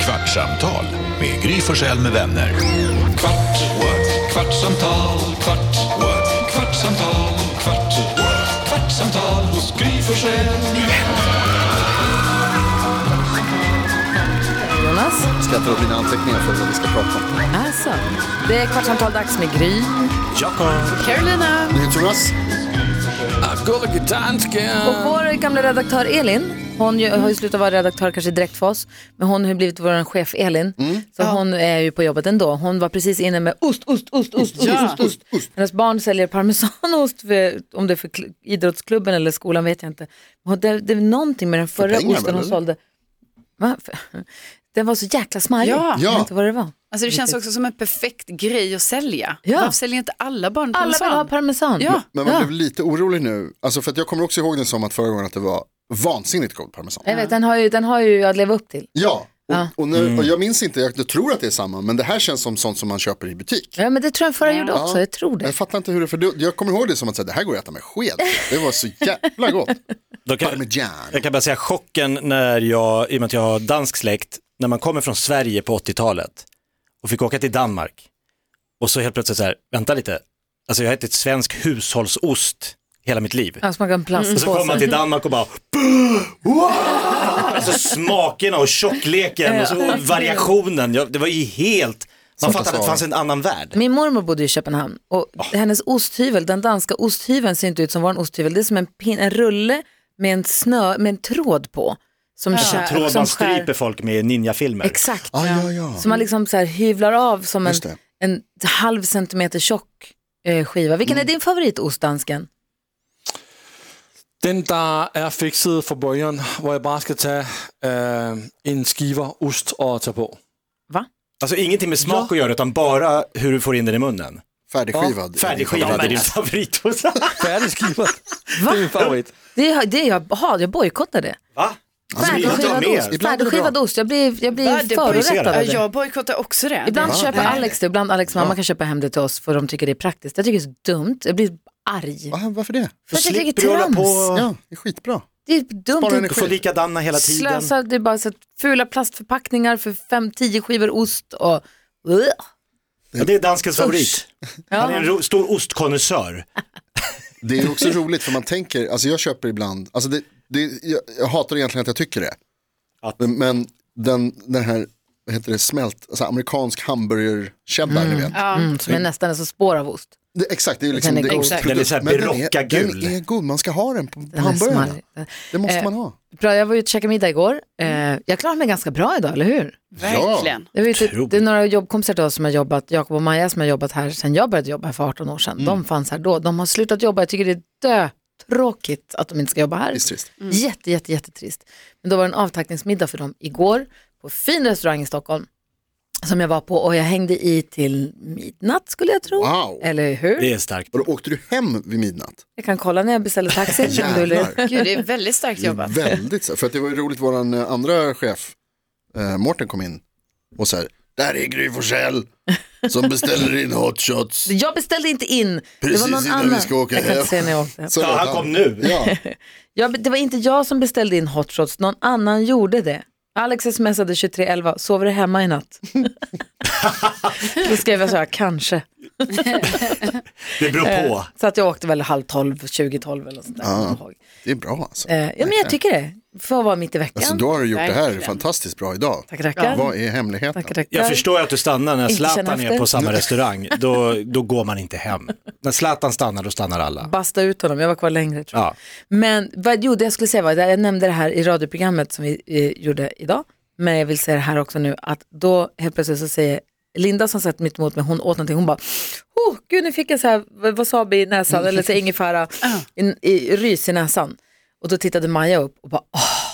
Kvartsamtal med Gry Forssell med vänner. Kvart, what? kvartsamtal, kvart, what? kvartsamtal, kvart, what? kvartsamtal hos Gry Forssell med vänner. Jonas? Ska jag dra upp mina anteckningar för vad vi ska prata om? Alltså, det är Kvartsamtal dags med Gry. Jakob. Carolina. Jonas? Och vår gamla redaktör Elin, hon ju, har ju slutat vara redaktör kanske direkt för oss, men hon har ju blivit vår chef Elin, Mm. så hon är ju på jobbet ändå. Hon var precis inne med ost, ost, ost, ost, ost, ost, ost. Hennes barn säljer parmesanost, för, om det är för kl- idrottsklubben eller skolan vet jag inte. Och det, det är någonting med den förra pengar osten hon väl, eller? sålde. Va? Den var så jäkla smarrig, Ja. jag vet inte vad det var. Alltså det känns också som en perfekt grej att sälja. Ja. Varför säljer inte alla barn Alla vill parmesan? ha parmesan. Ja. Alltså, Men man blev lite orolig nu, alltså för att jag kommer också ihåg den som att förra gången att det var vansinnigt god parmesan. Jag vet, den har ju, den har ju att leva upp till. Ja, och, Ja. och, nu, Mm. och jag minns inte, jag tror att det är samma, men det här känns som sånt som man köper i butik. Ja, men det tror jag den förra gjorde också, jag tror det. Jag fattar inte hur det, för det- jag kommer ihåg det som att säga, det här går att äta med sked. Det var så jävla gott. Då kan, Parmesan. jag kan bara säga chocken när jag, i och med att jag har dansk släkt, när man kommer från Sverige på 80-talet och fick åka till Danmark och så helt plötsligt så här, vänta lite, alltså jag har ätit svensk hushållsost hela mitt liv. Ja, smakar en Och så kommer man till plastpåse. Danmark och bara, wow! alltså smakerna och tjockleken och så variationen, jag, det var ju helt, man fattade att det fanns en annan värld. Min mormor bodde i Köpenhamn och hennes osthyvel, den danska osthyveln ser inte ut som vår osthyvel. Det är som en, pin, en rulle med en, snö, med en tråd på. Som skär. Tråd som skär- man stryper folk med i ninjafilmer. Exakt. Ah, ja, ja. Som man liksom så här hyvlar av som en, Just det. en halv centimeter tjock eh, skiva. Vilken är din favoritost, dansken? Den, der er fikset fra bøjeren, hvor jeg bare skal tage øh, en skiver ost og tage på. Va? Alltså ingenting med smak att göra utan bara hur du får in den i munnen. Färdigskivad. Färdigskivad är din favoritost. Færdigskiver. Det er min favorit. Det, är- det är jag, aha, jag bojkottar det. Va? Alltså, vi hittar Färdigskivad mer. ost. Ibland är det bra. Färdigskivad ost, jag blir, jag Va, blir det bojkottar- förorättad av Ja, det. jag bojkottar också det. Ibland Det- köper Nej. Alex det, ibland Alex mamma kan köpa hem det till oss för de tycker det är praktiskt. Jag tycker det är så dumt, jag blir arg. Ah, varför det? För att jag tycker slipper du hålla trams. på- Ja, det är skitbra. Det är dumt. Spara Det är Du får energi. likadana hela tiden. Slösa, det är bara så att fula plastförpackningar för fem, tio skivor ost och... Ugh. Ja, det är danskens favorit. Han är en Ja. ro- stor ostkonnässör. Det är också roligt för man tänker, alltså jag köper ibland, alltså det, det, jag, jag hatar egentligen att jag tycker det. Att- Men, men den, den här, vad heter det, smält, alltså amerikansk hamburgercheddar, ni vet. Mm, som är nästan en så spår av ost. Det, exakt, det är ju liksom, Den är det god. Exakt. Den är så här men den är, Berocca-gul. den är god, man ska ha den på, på Den är hamburgarna. smarrig. Den- Det måste Eh, man ha. Bra, jag var ute och käkade middag igår. Eh, jag klarade mig ganska bra idag, eller hur? Verkligen. Det, var ju typ, Otroligt. det är några jobbkompisar till oss som har jobbat, Jakob och Maja som har jobbat här sedan jag började jobba här för 18 år sedan. Mm. De fanns här då. De har slutat jobba, jag tycker det är dötråkigt att de inte ska jobba här. Det är trist. Jätte, jätte, jättetrist. Men då var det en avtackningsmiddag för dem igår på en fin restaurang i Stockholm som jag var på och jag hängde i till midnatt skulle jag tro. Wow. Eller hur? Det är starkt. Och då åkte du hem vid midnatt. Jag kan kolla när jag beställer taxi. om du vill. Jävlar. Gud, det är väldigt starkt Det är jobbat. Väldigt, så här, för att det var ju roligt, våran eh, andra chef, eh, Mårten kom in och så här, där är Gry Forssell som beställer in hot shots. Jag beställde inte in. det Precis var någon innan annan. vi ska åka jag kan hem. inte säga när jag åkte. Så Ja, han lät kom nu. Ja. Jag, det var inte jag som beställde in hot shots, någon annan gjorde det. Alex smsade 2311, sover du hemma i natt? Då skrev jag så här, kanske. Det beror på. Så att jag åkte väl halv tolv, tjugo tolv eller något sånt där. jag kommer ihåg. Det är bra alltså. Eh, ja, men jag tycker det. Får vara mitt i veckan. Alltså då har du gjort det här Verkligen. fantastiskt bra idag. Tack, tackar. Vad är hemligheten? Tackar, tackar. Jag förstår att du stannar när Inte känna Zlatan efter. är på samma restaurang. Då, då går man inte hem. När Zlatan stannar, då stannar alla. Basta ut honom, jag var kvar längre tror jag. Ja. Men vad, jo, det jag skulle säga var, jag nämnde det här i radioprogrammet som vi eh, gjorde idag, men jag vill säga det här också nu, att då helt plötsligt så säger Linda som satt mitt emot mig, hon åt någonting, hon bara, oh, gud nu fick jag så här wasabi i näsan, eller så här ingefära, i, i, rys i näsan. Och då tittade Maja upp och bara, åh,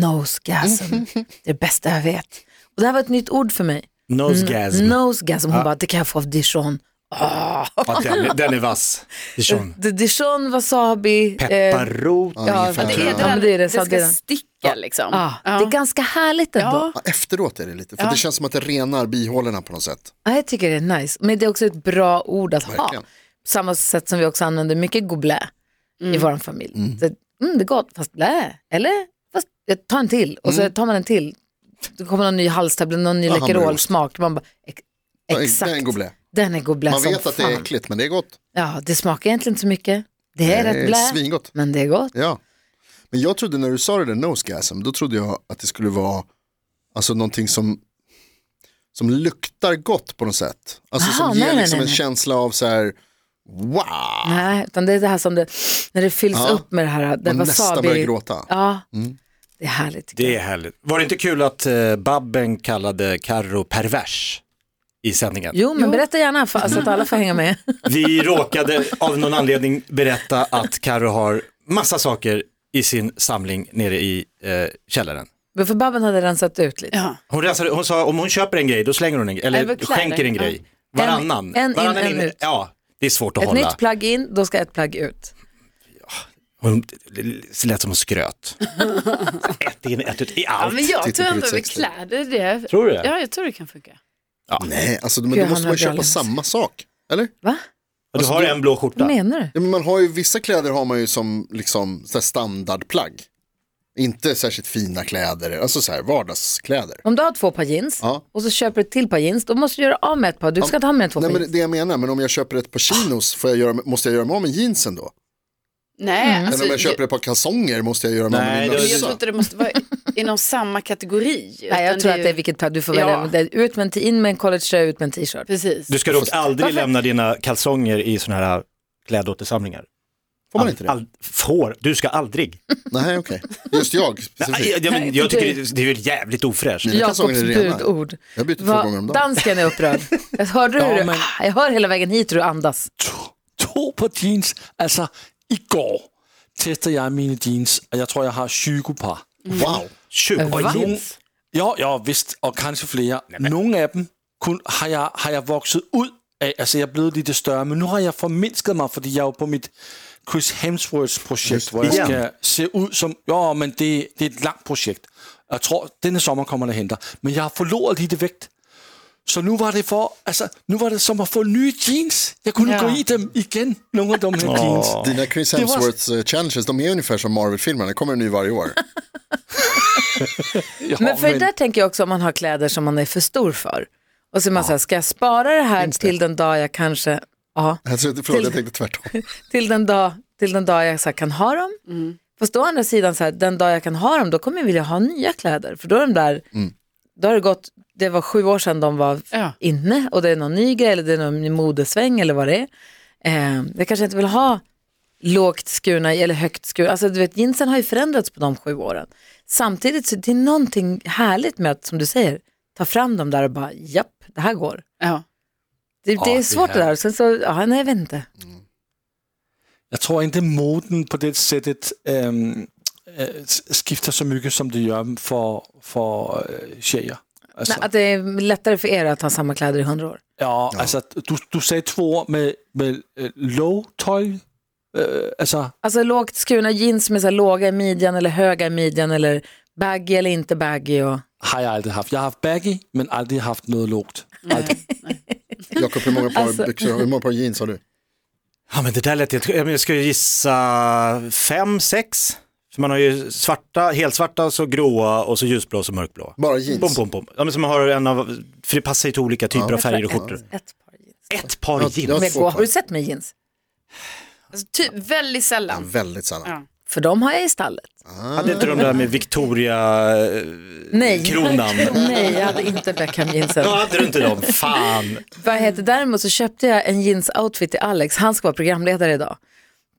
nosegasm, det är det bästa jag vet. Och det här var ett nytt ord för mig, Mm, Nosegasm. nosegasm, hon bara, det kan jag få av Dijon. Ja, den, den är vass. Dijon. D- Dijon, wasabi, eh, Pepparrot. ja, ungefär. Det, är Ja, men där, det är det, det så det är ska det. sticka liksom. Ja, Ja. Det är ganska härligt ändå. Ja. Ja, efteråt är det lite, för det känns som att det renar bihålorna på något sätt. Ja, jag tycker det är nice. Men det är också ett bra ord att ha. Verkligen. På samma sätt som vi också använder mycket god blä i vår Mm. mm, familj. Så, mm, det är gott, fast blä. Eller? Fast jag tar en till. Och så tar man en till. det kommer någon ny halstablett, någon ny Ja, Läkerol-smak. Man bara, ex- Ja, exakt. Den går blä. Den är god blä Man som vet att det är fan. äckligt men det är gott. Ja, det smakar egentligen inte så mycket. Det är Det rätt är blä, svingott. men det är gott. Ja. Men jag trodde när du sa det där nosegasm, då trodde jag att det skulle vara alltså någonting som, som luktar gott på något sätt. Alltså Aha, som nej, ger nej, liksom nej, en nej. känsla av så här, wow, Nej, utan det är det här som det, när det fylls Ja. upp med det här, det man nästan börjar wasabi. gråta. Ja, det är härligt. tycker Det är härligt. Var det inte kul att eh, Babben kallade Karro pervers i sändningen? jag. Jo, men berätta gärna för, så att alla får hänga med. Vi råkade av någon anledning berätta att Karro har massa saker i sin samling nere i eh, källaren. Men För Babben hade rensat ut lite. Ja. Hon, rensade, hon sa om hon köper en grej då slänger hon en grej, eller Även kläder, skänker en ja. grej. Varannan. En- en in, Varannan en ut. Ja, det är svårt att Ett hålla. nytt plagg in, då ska ett plagg ut. Hon det lät som hon skröt. ett in, ett ut, i Ja, allt. men jag Titta tror på ändå ditt med sexliv. kläder, det... Tror du det? Ja, jag tror det kan funka. Nej, alltså men Gud, då han måste har man köpa brallans. samma sak, eller? Va? Du har en blå skjorta. Vad menar du? Ja, men man har ju, vissa kläder har man ju som liksom, så här standardplagg. Inte särskilt fina kläder, alltså så här vardagskläder. Om du har två par jeans Ja. och så köper du ett till par jeans, då måste du göra av med ett par. Du ska inte ha med två Nej, par men det- jeans. det jag menar, men om jag köper ett par chinos, får jag göra, måste jag göra mig av med jeansen då? Mm. Nej, alltså, Eller om jag köper ett par kalsonger måste jag göra mig av med Nej, min det- jag, jag tror mössa. inte det måste vara inom samma kategori. Nej, jag utan tror att ju- det är vilket plagg du får Ja. välja. Det är Ut med en, in med en collegetröja, ut med en t-shirt. Precis. Du ska dock aldrig Varför? lämna dina kalsonger i sådana här klädåtersamlingar. Får man inte det? Ald- får, du ska aldrig. Nej, okej. Just jag Nej, specifikt. jag, jag, men, jag tycker det, det är ju jävligt ofräscht. Mina kalsonger Jakobs är rena. budord. Jag byter två Va- gånger om dagen. Dansken är upprörd. Jag hörde hur Ja, du, men- ah, jag hör hela vägen hit hur du andas. to par jeans. Altså, i går testede jeg mine jeans, og jeg tror, jeg har 20 par. Mm. Wow. Tjugo Va? jeans. Jo, jo, vist, og kanskje flere. Nogle af dem kun har, jeg, har jeg vokset ud af. Altså, jeg er blevet lidt større, men nu har jeg formindsket mig, fordi jeg er jo på mit Chris Hemsworth-projekt, hvor jeg igen. skal se ud som... Jo, men det, det er et langt projekt. Jeg tror, denne sommer kommer der henter. Men jeg har forloret lidt vægt. Så nu var det for, altså, nu var det som at få nye jeans. Jeg kunne Ja. ja. gå i dem igen, nogle af de her jeans. Dina Chris Det var- Hemsworth-challenges, de är ungefär som Marvel-filmerna, det kommer en ny varje år. Ja, Men för det där tänker jag också om man har kläder som man är för stor för. Och så är man så här, ska jag spara det här till den dag jag kanske, ja, Alltså, förlåt, jag tänkte tvärtom. till den dag, till den dag jag så här kan ha dem. Fast å andra sidan, så här, den dag jag kan ha dem, då kommer jag vilja ha nya kläder. För då är de där, Mm. då har det gått, det var sju år sedan de var Ja. inne och det är någon ny grej eller det är någon ny modesväng eller vad det är. Eh, jag kanske inte vill ha lågt skurna eller högt skurna. Alltså du vet, jeansen har ju förändrats på de sju åren. Samtidigt så det är någonting härligt med att, som du säger, ta fram dem där och bara, japp, det här går. Ja. Det, det är det är svårt det där. Sen så, ja, nej, jag vet inte. Jeg tror ikke, moden på det sættet øhm, øh, s- skifter så mycket som det gør for, for øh, tjejer. Altså, Nej, att det är lättare för er att ha samma kläder i hundra år. ja, altså, du, du sagde to ord med, med øh, low-tøj. Øh, altså, Alltså lågt skurna jeans med så här låga i midjan eller höga i midjan eller baggy eller inte baggy. Och... har jeg aldrig haft. Jeg har haft baggy, men aldrig haft noget lågt. Jakob, hur många par Alltså- byxor, hur många par jeans har du? Ja men det där lät helt, jag, men jag skulle gissa fem, sex. För man har ju svarta, helsvarta, så gråa och så ljusblå och så mörkblå. Bara jeans? Pom, pom, pom. Ja men som har en av, för det passar ju till olika typer av färger och Ett- skjortor. Ett par jeans. Ett par Ja, jeans. ja. Men två gå, par. har du sett mig i jeans? Alltså, typ väldigt Ja, sällan. väldigt sällan. Ja. För de har jag i stallet. Hade inte de där med eh, Victoria-kronan? Nej, nej jag hade inte Beckham jeansen. Ja, hade du inte dem? Fan. Vad heter Mm. däremot så köpte jag en jeansoutfit till Alex. Han ska vara programledare idag.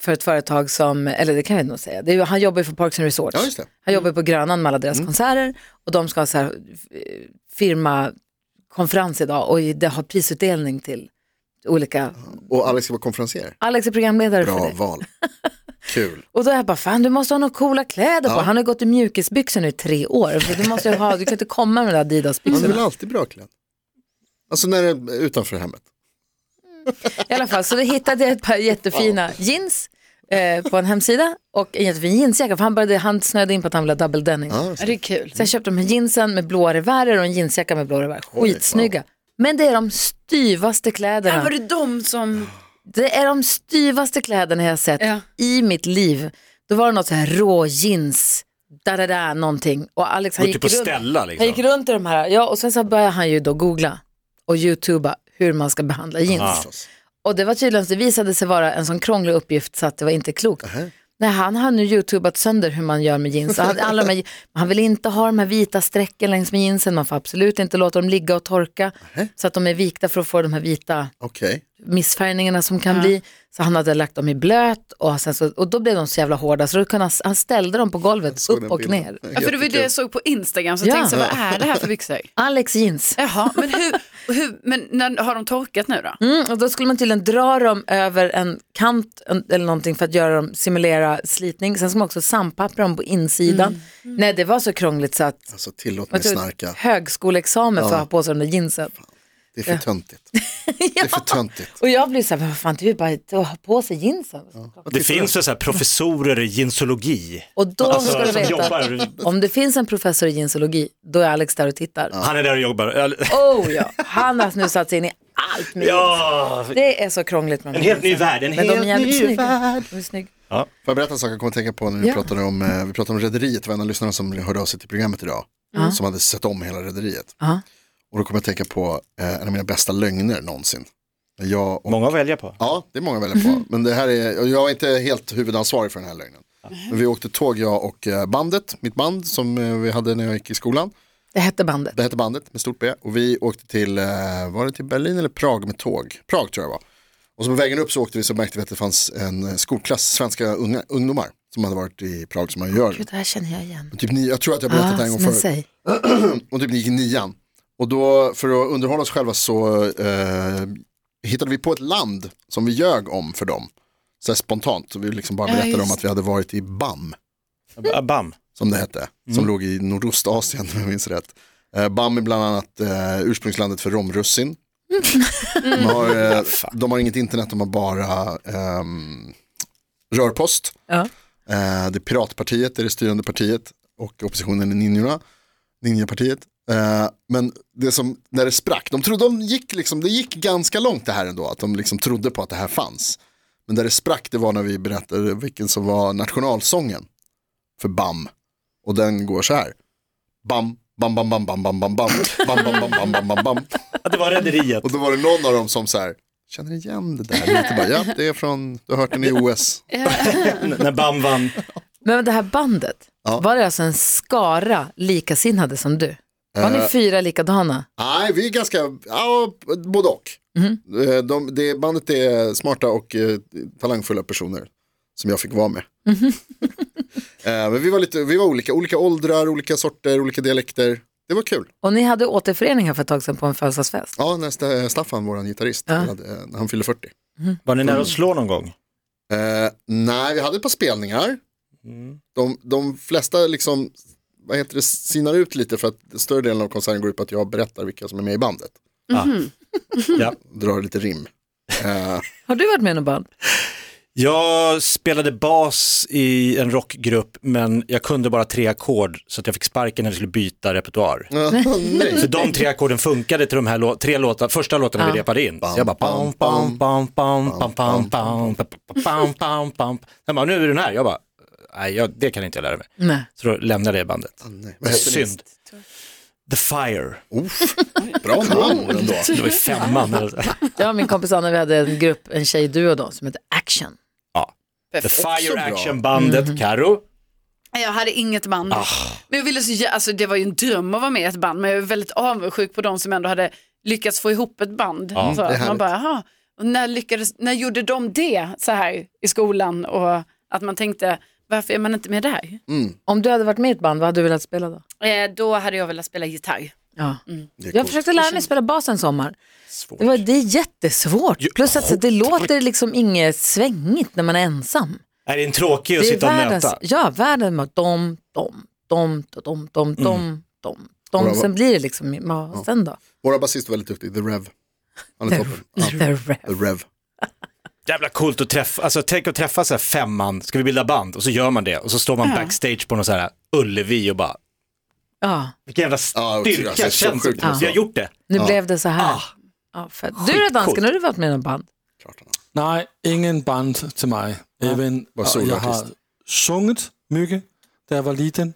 För ett företag som, eller det kan jag nog säga, det är, ju- han jobbar ju för Parks and Resorts. Ja, just det. Mm. Han jobbar ju på Grönan med alla deras konserter och de ska ha så här, eh, firmakonferens idag och det har prisutdelning till olika. Och Alex ska vara konferenser. Alex är programledare för Bra det. val. Kul. Och då är jag bara, fan du måste ha några coola kläder på. Han har gått i mjukisbyxor nu i tre år. För du, måste ju ha, du kan inte komma med de där Man är väl Adidas-byxorna. alltid bra klädd? Alltså när det är utanför hemmet. I alla fall, så då hittade jag ett par jättefina jeans eh, på en hemsida och en jättefin jeansjacka. För han, började, han snöade in på att han ville ha double denim. Ja, Ja, så- det är kul. Så jag köpte de här jeansen med blåa revärer och en jeansjacka med blå revär. Skitsnygga. Men det är de styvaste kläderna. Ja, var det de som... Det är de styvaste kläderna jag har sett Ja. i mitt liv. Då var det något så här rå jeans da da da någonting. Och Alex han Gå gick, till på runt, Stella liksom. han gick runt i de här, ja och sen så började han ju då googla och youtuba hur man ska behandla jeans. Ah. Och det var tydligen, det visade sig vara en sån krånglig uppgift så att det var inte klokt. Nej, han har nu youtubat sönder hur man gör med jeans. Han, alla de här, han vill inte ha de här vita strecken längs med jeansen, man får absolut inte låta dem ligga och torka så att de är vikta för att få de här vita Okej. missfärgningarna som kan bli. Så han hade lagt dem i blöt och, sen så, och då blev de så jävla hårda så då kunde han, han ställde dem på golvet såg upp den och bilden. ner. Ja, för det var ju det Jättekul. jag såg på Instagram, så Ja. jag tänkte så, här, vad är det här för byxor? Alex jeans. Jaha, men, hur, hur, men när, har de torkat nu då? Mm, och då skulle man tydligen dra dem över en kant en- eller någonting för att göra dem, simulera slitning. Sen ska man också sandpappra dem på insidan. Nej, det var så krångligt så att Alltså tillåt mig jag tror, snarka. högskoleexamen för Ja. att ha på sig de där jeansen. Det är för töntigt. Det är för töntigt. Och jag blir så här, vad fan, det är ju bara att ha på sig jeansen. Det finns väl så här professorer i ginsologi. Och då Alltså, ska du som veta, jobbar, om det finns en professor i jeansologi, då är Alex där och tittar. han är där och jobbar. Eller- Oh ja, han har nu satt sig in i allt med jeans. Ja, Det är så krångligt med en helt ny värld. En Men de är helt jävligt ny värld. snygga. De är snygga. Får jag berätta en sak jag kommer att tänka på när vi Ja. pratade om, eh, vi pratade om Rederiet, det var en av lyssnarna som hörde av sig till programmet idag, som hade sett om hela Rederiet. Ja. Och då kommer jag att tänka på eh, en av mina bästa lögner någonsin. När Jag och, Många att välja på. ja, det är många att välja Mhm. på, men det här är, och jag är inte helt huvudansvarig för den här lögnen. Men vi åkte tåg, jag och eh, bandet, mitt band som eh, vi hade när jag gick i skolan. Det hette bandet. Det hette bandet med stort B och vi åkte till, eh, var det till Berlin eller Prag med tåg? Prag tror jag det var. Och så på vägen upp så åkte vi så märkte vi att det fanns en eh, skolklass svenska unga, ungdomar som hade varit i Prag som man gör. Gud, det här känner jag igen. Ah, Typ ni, jag tror att jag berättat det här en gång men förut. säg. Och typ ni gick i nian. Och då för att underhålla oss själva så eh, hittade vi på ett land som vi ljög om för dem. Så här spontant, så vi liksom bara Ja, berättade om just. att vi hade varit i BAM Ah, Bam. som det hette, som låg i Nordostasien om jag minns rätt. Eh, Bam är bland annat eh, ursprungslandet för romrussin. De har, eh, de har inget internet, de har bara ehm, rörpost. Ja. Eh, det är piratpartiet, det är det styrande partiet och oppositionen är ninjorna, ninjapartiet. Eh, men det som, när det sprack, de trodde, de gick liksom, det gick ganska långt det här ändå, att de liksom trodde på att det här fanns. Men där det sprack, det var när vi berättade vilken som var nationalsången för BAM. Och den går så här. Bam, bam, bam, bam, bam, bam, bam, bam, bam, bam, bam, bam, bam, bam, bam. Ja, det var Rederiet. Och då var det någon av dem som så här, känner igen det där lite bara, ja det är från, du har hört den i OS. N- När Bam vann. Men det här bandet, Ja. var det alltså en skara likasinnade som du? Var ni Eh. fyra likadana? Nej, vi är ganska, ja, både och. Eh, De, det, bandet är smarta och eh, talangfulla personer som jag fick vara med. Eh, Men vi var, lite, vi var olika, olika åldrar, olika sorter, olika dialekter. Det var kul. Och ni hade återförening här för ett tag sedan på en födelsedagsfest. Ja, nästa, Staffan, vår gitarrist, han, hade, eh, han fyllde 40. Var ni nära att slå någon gång? Eh, nej, vi hade ett par spelningar. De, de flesta liksom, vad heter det, sinar ut lite för att större delen av konserten går ut på att jag berättar vilka som är med i bandet. Ja. Drar lite rim. Eh, Har du varit med i något band? Jag spelade bas i en rockgrupp men jag kunde bara tre ackord så att jag fick sparken när vi skulle byta repertoar. nej. Så de tre ackorden funkade till de här lå- tre låtar, första låtarna vi repade in. Så jag bara pam, pam, pam, pam, pam, pam, pam, pam, pam, pam, pam. Jag bara, nu är den här. Jag bara, nej, jag, det kan inte jag lära mig. Nej. Så då lämnade jag bandet. nej. Vad heter det? Synd. The Fire. Oof, bra namn ändå. Det var i femman. eller så. Jag och min kompis Anna, vi hade en grupp, en tjejduo då, som hette Action. The Fire bra. Mm. Action-bandet, Karo. Nej, Jag hade inget band. Ah. Men jag ville så, jä- alltså, det var ju en dröm att vara med i ett band, men jag är väldigt avundsjuk på de som ändå hade lyckats få ihop ett band. så, är att man härligt. bara, "Jaha, och när, lyckades, när gjorde de det så här i skolan? Och att man tänkte, varför är man inte med där? Mm. Om du hade varit med i ett band, vad hade du velat spela då? Eh, då hade jag velat spela gitarr. Ja. Det är Jag coolt. försökte lära mig spela bas en sommar. Det, var, det är jättesvårt. Plus att så, det låter liksom inget svängigt när man är ensam. Nej, det är en tråkig att Det är sitta och världens, nöta. ja, världen med dom, dom, dom, dom, Mm. dom, dom, dom, dom. Bra. Sen blir det liksom, ja, sen då? Våra basist var väldigt duktig, The Rev. Han är The, toppen. Ja, the rap. The Rev. Jävla coolt att träffa, alltså tänk att träffa så här femman, ska vi bilda band? Och så gör man det och så står man backstage på någon så här Ullevi och bara, Ja, vilken jävla Ja, och styrka, alltså, så känns sjukt det? alltså. Vi har gjort det. nu blev det så här. Ah. Ja, fett. du då dansken, Skitcoolt. har du varit med i något band? Nej, ingen band till mig. Även, Var jag soloartist. har sunget mycket, da jag var liten.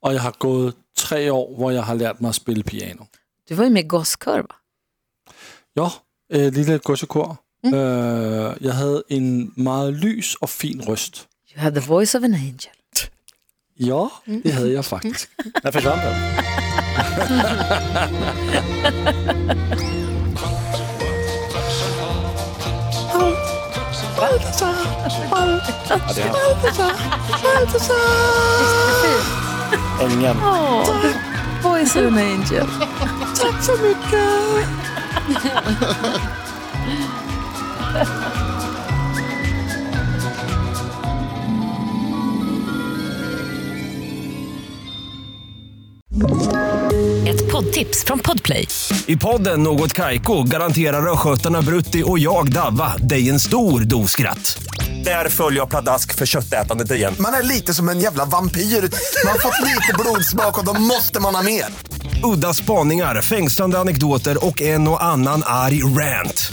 og jeg har gået tre år, hvor jeg har lært mig at spille piano. Du var ju med i Gosskör va? Ja, øh, lille godsekor. Mm. Øh, jeg havde en meget lys og fin røst. You had the voice of an angel. Ja, det havde jeg faktisk. Där försvann den. Ingen. Voice of an angel. Ett poddtips från Podplay. I podden Något Kaiko garanterar östgötarna Brutti och jag, Davva, dig en stor dos skratt. Där följer jag pladask för köttätandet igen. Man är lite som en jävla vampyr. Man har fått lite blodsmak och då måste man ha mer. Udda spaningar, fängslande anekdoter och en och annan arg rant.